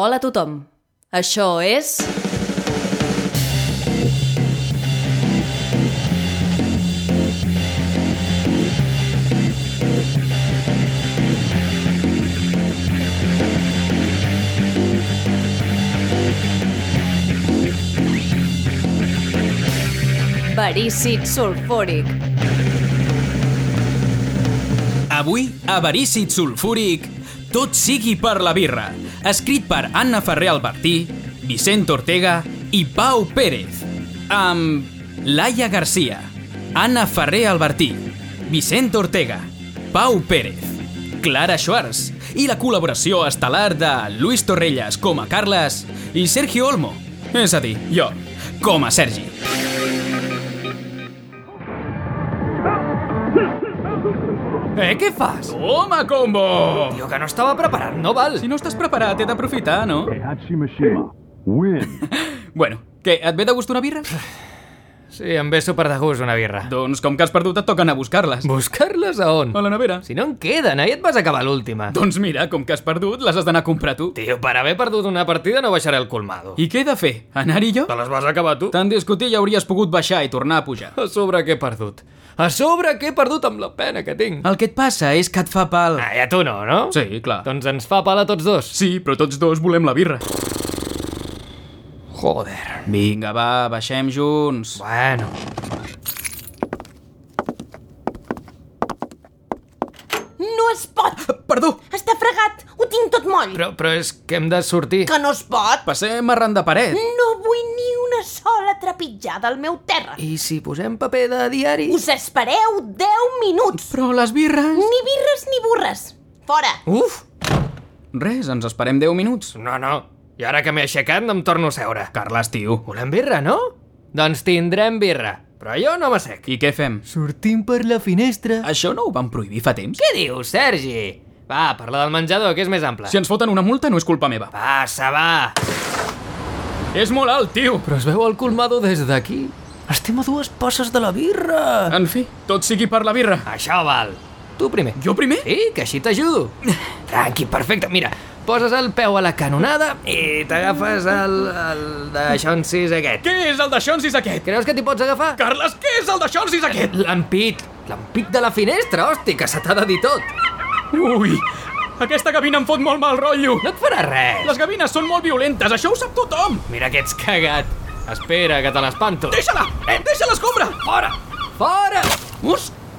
Hola a tothom. Això és... Verícid sulfúric. Avui, avarícid sulfúric, tot sigui per la birra. Escrit per Anna Ferrer Albertí, Vicent Ortega i Pau Pérez. Amb Laia Garcia, Anna Ferrer Albertí, Vicent Ortega, Pau Pérez, Clara Schwartz i la col·laboració estel·lar de Luis Torrelles com a Carles i Sergio Olmo, és a dir, jo, com a Sergi. Eh, què fas? Toma, combo! Tio, que no estava preparat, no val. Si no estàs preparat, he d'aprofitar, no? Hayashi Mishima. Win. Bueno, què, et ve de gust una birra? Sí, em ve super de gust una birra. Doncs com que has perdut et toca anar a Doncs- buscar-les. Buscar-les a on? A la nevera. Si no en queden, ahir et vas acabar l'última. Doncs mira, com que has perdut, les has d'anar a comprar tu. Tio, per haver perdut una partida no baixaré el colmado. I què he de fer? Anar-hi jo? Te les vas acabar tu? Tant discutir ja hauries pogut baixar i tornar a pujar. A sobre que he perdut. A sobre que he perdut amb la pena que tinc. El que et passa és que et fa pal. Ah, i a tu no, no? Sí, clar. Doncs ens fa pal a tots dos. Sí, però tots dos volem la birra. Joder. Vinga, va, baixem junts. Bueno. No es pot! Perdó! Està fregat! Ho tinc tot moll! Però, però és que hem de sortir. Que no es pot! Passem arran de paret. No vull ni una sola trepitjada al meu terra! I si posem paper de diari? Us espereu 10 minuts! Però les birres... Ni birres ni burres! Fora! Uf! Res, ens esperem 10 minuts. No, no. I ara que m'he aixecat no em torno a seure. Carles, tio. Volem birra, no? Doncs tindrem birra. Però jo no m'assec. I què fem? Sortim per la finestra. Això no ho van prohibir fa temps? Què dius, Sergi? Va, parla del menjador, que és més ample. Si ens foten una multa no és culpa meva. Passa, va. És molt alt, tio! Però es veu el colmado des d'aquí. Estem a dues passes de la birra. En fi, tot sigui per la birra. Això val. Tu primer. Jo primer? Sí, que així t'ajudo. Tranqui, perfecte. Mira, poses el peu a la canonada i t'agafes el, el d'això en sis aquest. Què és el de Xonsis aquest? Creus que t'hi pots agafar? Carles, què és el de Xonsis aquest? L'ampit. L'ampit de la finestra, hosti, que se t'ha de dir tot. Ui, aquesta gavina em fot molt mal rotllo. No et farà res. Les gavines són molt violentes, això ho sap tothom. Mira que ets cagat. Espera, que te l'espanto. Deixa-la! Eh? Deixa l'escombra! Fora! Fora!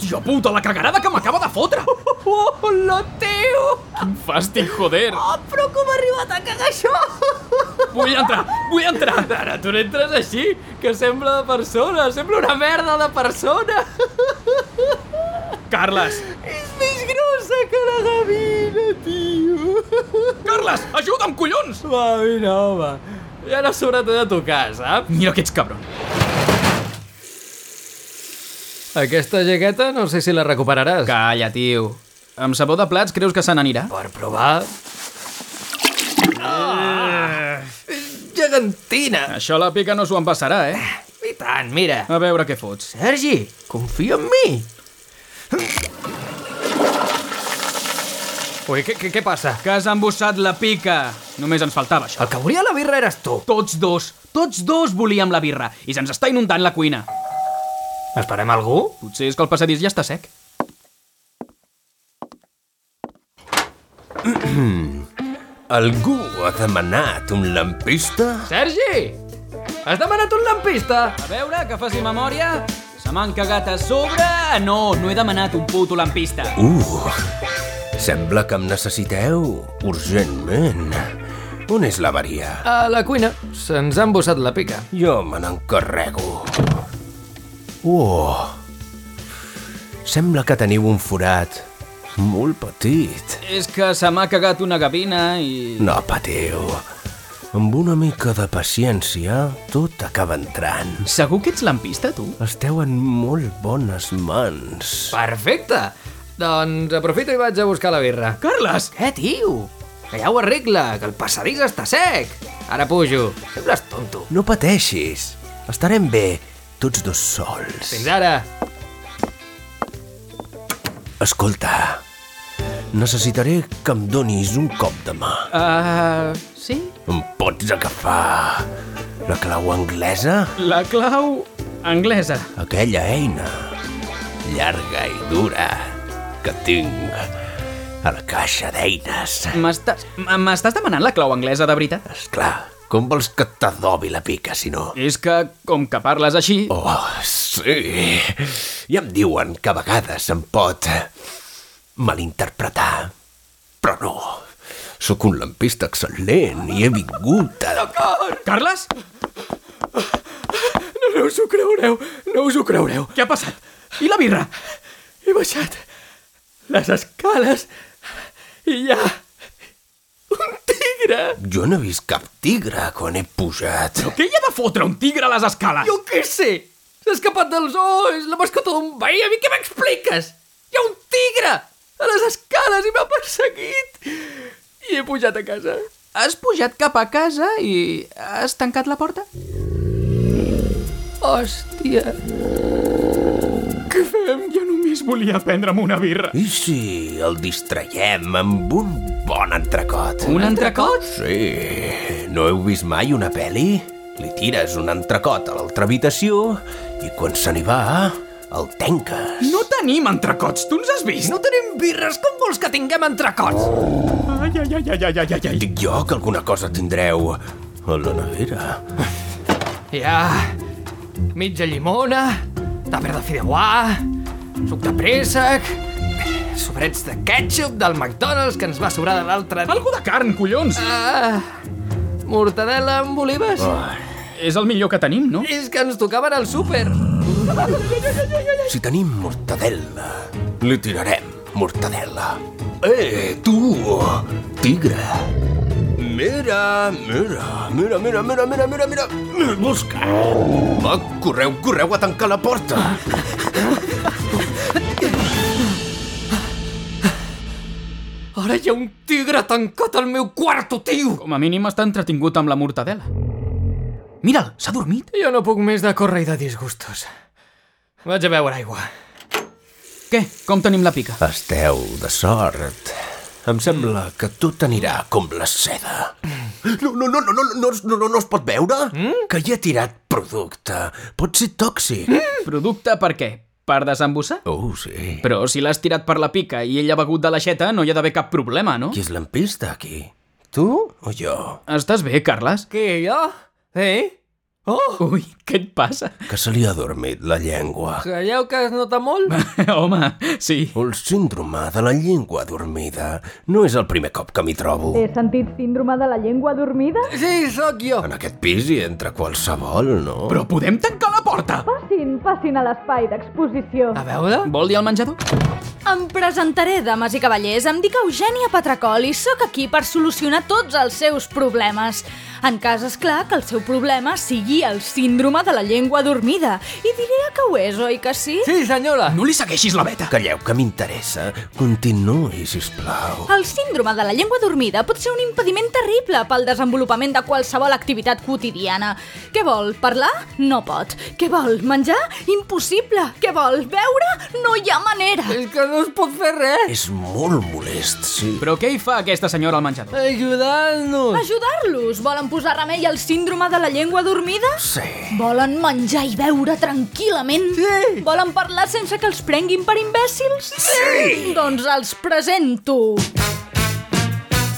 Hòstia puta, la cagarada que m'acaba de fotre! Oh, oh, lo teu! Quin fàstic, joder! Ah, Oh, però com ha arribat a cagar això? Vull entrar, vull entrar! Ara, tu no entres així, que sembla de persona, sembla una merda de persona. Carles! És més grossa que la gavina, tio. Carles, ajuda'm, collons! Va, vine, home. I ara sobre t'he de tocar, saps? Mira que ets cabron. Aquesta jaqueta no sé si la recuperaràs. Calla, tio. Amb sabó de plats creus que se n'anirà? Per provar... Ah, Gegantina! Això la pica no s'ho en passarà, eh? I tant, mira. A veure què fots. Sergi, confia en mi. Ui, què, què, què passa? Que has embossat la pica. Només ens faltava això. El que volia la birra eres tu. Tots dos, tots dos volíem la birra i se'ns està inundant la cuina. Esperem algú? Potser és que el passadís ja està sec. Algú ha demanat un lampista? Sergi! Has demanat un lampista? A veure, que faci memòria. Se m'han cagat a sobre... No, no he demanat un puto lampista. Uh, sembla que em necessiteu urgentment. On és la varia? A la cuina. Se'ns ha embossat la pica. Jo me n'encarrego. Oh, sembla que teniu un forat molt petit. És que se m'ha cagat una gavina i... No patiu. Amb una mica de paciència, tot acaba entrant. Segur que ets lampista, tu? Esteu en molt bones mans. Perfecte! Doncs aprofito i vaig a buscar la birra. Carles! Què, tio? Que ja ho arregla, que el passadís està sec. Ara pujo. Sembles tonto. No pateixis. Estarem bé, tots dos sols. Fins ara. Escolta, Necessitaré que em donis un cop de mà. Uh, sí? Em pots agafar la clau anglesa? La clau anglesa. Aquella eina llarga i dura que tinc a la caixa d'eines. M'estàs m- m'estàs demanant la clau anglesa de veritat? És clar, com vols que t'adobi la pica, si no? És que, com que parles així... Oh, sí. Ja em diuen que a vegades em pot malinterpretar. Però no. Sóc un lampista excel·lent i he vingut a... Carles? No us ho creureu, no us ho creureu. Què ha passat? I la birra? He baixat les escales i hi ha un tigre. Jo no he vist cap tigre quan he pujat. Què hi ha de fotre un tigre a les escales? Jo què sé? S'ha escapat del zoo, és la mascota d'un veí. A mi què m'expliques? Hi ha un tigre a les escales i m'ha perseguit. I he pujat a casa. Has pujat cap a casa i has tancat la porta? Hòstia. Què fem? Jo només volia prendre'm una birra. I si el distraiem amb un bon entrecot? Un entrecot? Sí, no heu vist mai una peli? Li tires un entrecot a l'altra habitació i quan se n'hi va, el tanques. No tenim entrecots, tu ens has vist? No tenim birres, com vols que tinguem entrecots? Ai, ai, ai, ai, ai, ai, ai, ai. Dic jo que alguna cosa tindreu a la nevera. Hi ha mitja llimona, tàper de fideuà, suc de préssec, sobrets de ketchup del McDonald's que ens va sobrar de l'altre dia. Algú de carn, collons! Ah, mortadela amb olives. Ah. Oh. És el millor que tenim, no? És que ens tocaven al súper. Si tenim mortadella, li tirarem mortadella. Eh, tu, tigre! Mira, mira, mira, mira, mira, mira, mira, mira. Busca. Va, correu, correu a tancar la porta. Ara hi ha un tigre tancat al meu quarto, tio! Com a mínim està entretingut amb la mortadela. Mira'l, s'ha dormit. Jo no puc més de córrer i de disgustos. Vaig a beure aigua. Què? Com tenim la pica? Esteu de sort. Em sembla que tot anirà com la seda. No, no, no, no, no, no, no, no, no es pot veure? Mm? Que hi ha tirat producte. Pot ser tòxic. Mm? Producte per què? Per desembossar? Oh, sí. Però si l'has tirat per la pica i ell ha begut de l'aixeta, no hi ha d'haver cap problema, no? Qui és l'ampista, aquí? Tu o jo? Estàs bé, Carles? Què, jo? Eh? Oh, Ui, què et passa? Que se li ha dormit la llengua. creieu que es nota molt? Home, sí. El síndrome de la llengua dormida no és el primer cop que m'hi trobo. He sentit síndrome de la llengua dormida? Sí, sóc jo. En aquest pis hi entra qualsevol, no? Però podem tancar la porta! Passin, passin a l'espai d'exposició. A veure? Vol dir al menjador? Em presentaré, dames i cavallers, em dic Eugènia Patracol i sóc aquí per solucionar tots els seus problemes. En cas, és clar que el seu problema sigui el síndrome de la llengua dormida. I diria que ho és, oi que sí? Sí, senyora. No li segueixis la veta! Calleu, que m'interessa. Continuï, sisplau. El síndrome de la llengua dormida pot ser un impediment terrible pel desenvolupament de qualsevol activitat quotidiana. Què vol? Parlar? No pot. Què vol? Menjar? Impossible. Què vol? Beure? No hi ha manera. És que no es pot fer res. És molt molest, sí. Però què hi fa aquesta senyora al menjador? Ajudant-nos. Ajudar-los? Volen posar remei al síndrome de la llengua dormida? Sí. Volen menjar i beure tranquil·lament? Sí. Volen parlar sense que els prenguin per imbècils? Sí! Doncs els presento...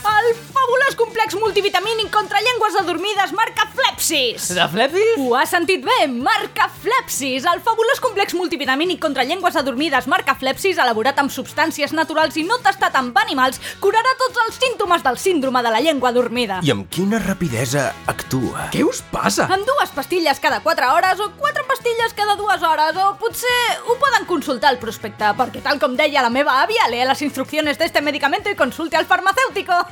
El fabulós complex multivitamínic contra llengües adormides marca Flepsis! De flepis? Ho has sentit bé? Marca Flepsis, el fabulós complex multivitamínic contra llengües adormides Marca Flepsis, elaborat amb substàncies naturals i no tastat amb animals, curarà tots els símptomes del síndrome de la llengua adormida. I amb quina rapidesa actua? Què us passa? Amb dues pastilles cada 4 hores o quatre pastilles cada dues hores o potser ho poden consultar al prospecte perquè tal com deia la meva àvia, lea les instrucciones d'este medicamento i consulte al farmacéutico.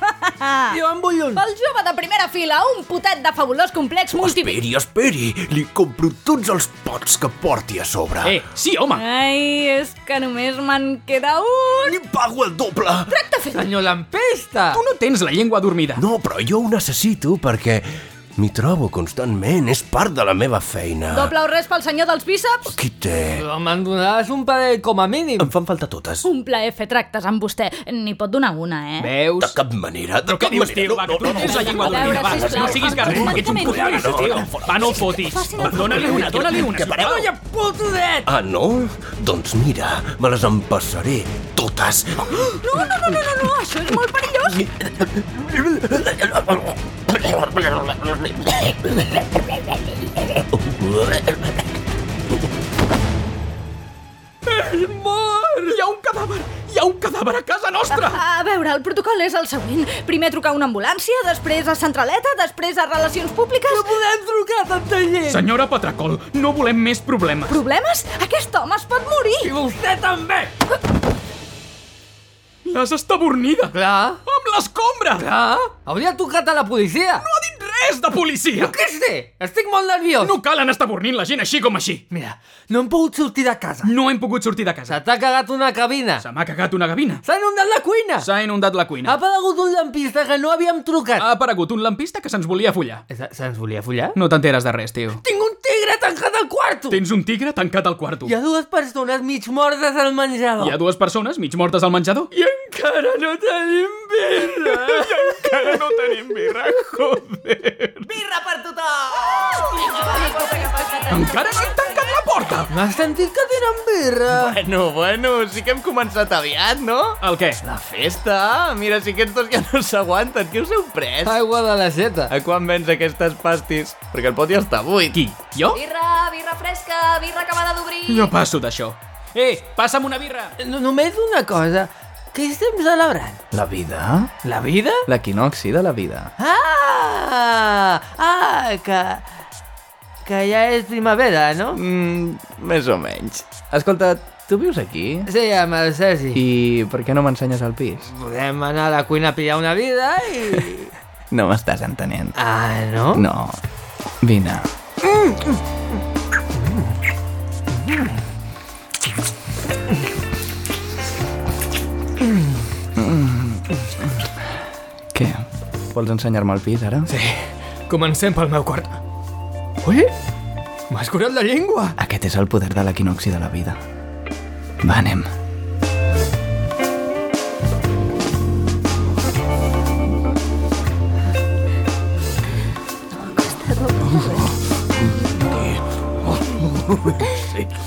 Jo en vull un. El jove de primera fila, un putet de fabulós complex multivitamínic. Esperi, esperi. Li compro tots els pots que porti a sobre. Eh, sí, home! Ai, és que només me'n queda un. Li pago el doble. Tracte fet. Senyor Lampesta. Tu no tens la llengua dormida. No, però jo ho necessito perquè M'hi trobo constantment, és part de la meva feina. Doble o res pel senyor dels bíceps? Qui té? Me'n donaràs un parell com a mínim. Em fan falta totes. Un plaer fer tractes amb vostè. N'hi pot donar una, eh? De Veus? cap manera, Però de què cap dius, manera. tio? Va, que tu tens la llengua A veure, dormida, va, sisplau, no siguis facin garrut. un Ets un medicament. collons, tio. Va, no el fotis. Facin un Dóna-li una, dóna-li una. Que pareu. sisplau. Puto dret! Ah, no? Doncs mira, me les empassaré totes. No, no, no, no, no, no, això és molt perillós. Mor! Hi ha un cadàver! Hi ha un cadàver a casa nostra! A veure, el protocol és el següent. Primer trucar a una ambulància, després a centraleta, després a relacions públiques... No podem trucar a tanta gent! Senyora Patracol, no volem més problemes. Problemes? Aquest home es pot morir! I vostè també! L'has estabornida. Clar, Amb l'escombra. clar. Hauria tocat a la policia. No ha dit res de policia. Què sé? Estic molt nerviós. No cal anar estabornint la gent així com així. Mira, no hem pogut sortir de casa. No hem pogut sortir de casa. Se t'ha cagat una cabina. Se m'ha cagat una gavina. S'ha inundat la cuina. S'ha inundat la Ha cuina. aparegut un lampista que no havíem trucat. Eh, Ha aparegut un lampista que se'ns volia follar. Se- Se'ns volia follar? No t'enteres de res, tio. Tinc un tigre tancat al quarto! Tens un tigre tancat al quarto. Hi ha dues persones mig mortes al menjador. Hi ha dues persones mig mortes al menjador. I encara no tenim birra. Encara no tenim birra, joder. Birra per tothom! Encara s'han tancat la porta. M'has sentit que tenen birra? Bueno, bueno, sí que hem començat aviat, no? El què? La festa! Mira, si aquests dos ja no s'aguanten, què us heu pres? Aigua de la seta. A quan vens aquestes pastis? Perquè el pot ja està buit. Qui? Jo? Birra, birra fresca, birra acabada d'obrir. No passo d'això. Eh, passa'm una birra. No, només una cosa. Què estem celebrant? La vida? La vida? L'equinoxi de la vida. Ah! Ah, que... Que ja és primavera, no? Mm, més o menys. Escolta, tu vius aquí? Sí, amb el Sergi. I per què no m'ensenyes el pis? Podem anar a la cuina a pillar una vida i... No m'estàs entenent. Ah, no? No. Vine. Què? Vols ensenyar-me el pis, ara? Sí. Comencem pel meu quart. Ui, m'has curat la llengua. Aquest és el poder de l'equinoxi de la vida. Va, anem.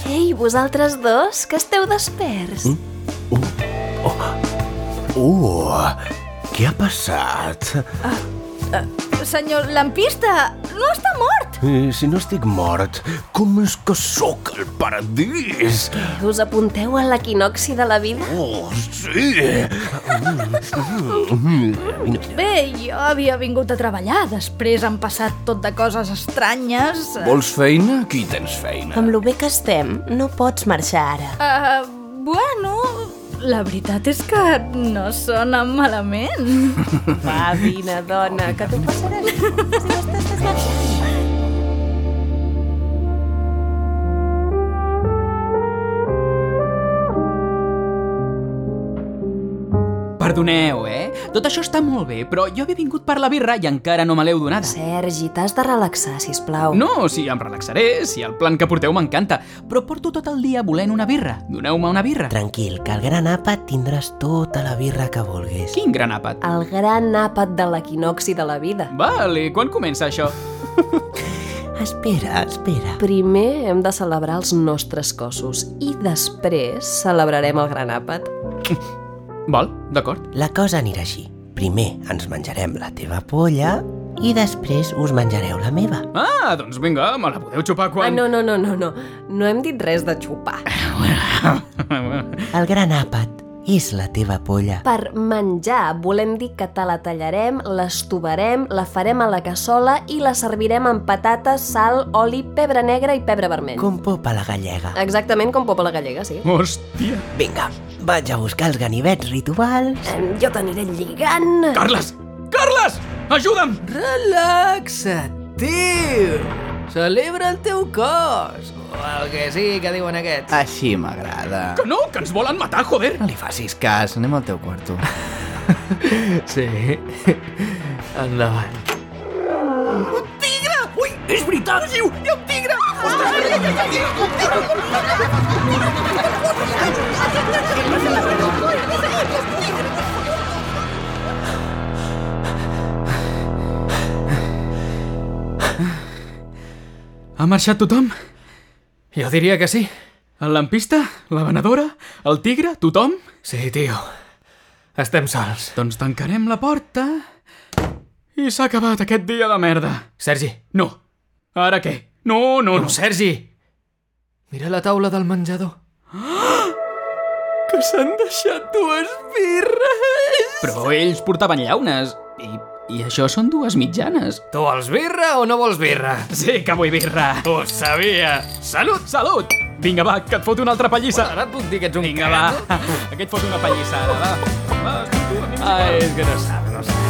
Ei, vosaltres dos, que esteu desperts. Mm? Uh, què ha passat? Senyor lampista, no està mort! Eh, si no estic mort, com és que sóc el paradís? Us apunteu a l'equinoxi de la vida? Oh, sí! Bé, jo havia vingut a treballar, després han passat tot de coses estranyes... Vols feina? Aquí tens feina. Amb lo bé que estem, no pots marxar ara. Uh, bueno, la veritat és que no sona malament. Va, vine, dona, que t'ho passaràs. Si no estàs desgraciat. Perdoneu, eh? Tot això està molt bé, però jo havia vingut per la birra i encara no me l'heu donada. Sergi, t'has de relaxar, sisplau. No, si em relaxaré, si el plan que porteu m'encanta, però porto tot el dia volent una birra. Doneu-me una birra. Tranquil, que al gran àpat tindràs tota la birra que vulguis. Quin gran àpat. El gran àpat de l'equinoxi de la vida. Vale, quan comença això? Espera, espera. Primer hem de celebrar els nostres cossos i després celebrarem el gran àpat. Vol, d'acord. La cosa anirà així. Primer ens menjarem la teva polla i després us menjareu la meva. Ah, doncs vinga, me la podeu xupar Ah, quan... no, no, no, no, no. No hem dit res de xupar. El gran àpat és la teva polla. Per menjar volem dir que te la tallarem, l'estovarem, la farem a la cassola i la servirem amb patates, sal, oli, pebre negre i pebre vermell. Com popa la gallega. Exactament com popa la gallega, sí. Hòstia. Vinga, vaig a buscar els ganivets rituals. Em, Jo t'aniré lligant. Carles! Carles! Ajuda'm! Relaxa't, tio. Celebra el teu cos. O el que sigui que diuen aquests. Així m'agrada. Que no, que ens volen matar, joder! No li facis cas, anem al teu quarto. Sí. Endavant. És veritat! Diu, hi ha un tigre! Ha marxat tothom? Jo diria que sí. El lampista? La venedora? El tigre? Tothom? Sí, tio. Estem sols. Doncs tancarem la porta... I s'ha acabat aquest dia de merda. Sergi. No. Ara què? No, no, no. No, Sergi! Mira la taula del menjador. Que s'han deixat dues birres! Però ells portaven llaunes. I, i això són dues mitjanes. Tu vols birra o no vols birra? Sí que vull birra. Ho sabia! Salut! Salut! Vinga, va, que et fot una altra pallissa. Ara et puc dir que ets un Vinga, va. Aquest fot una pallissa, ara, va. va. Ai, és que no sap, no sap.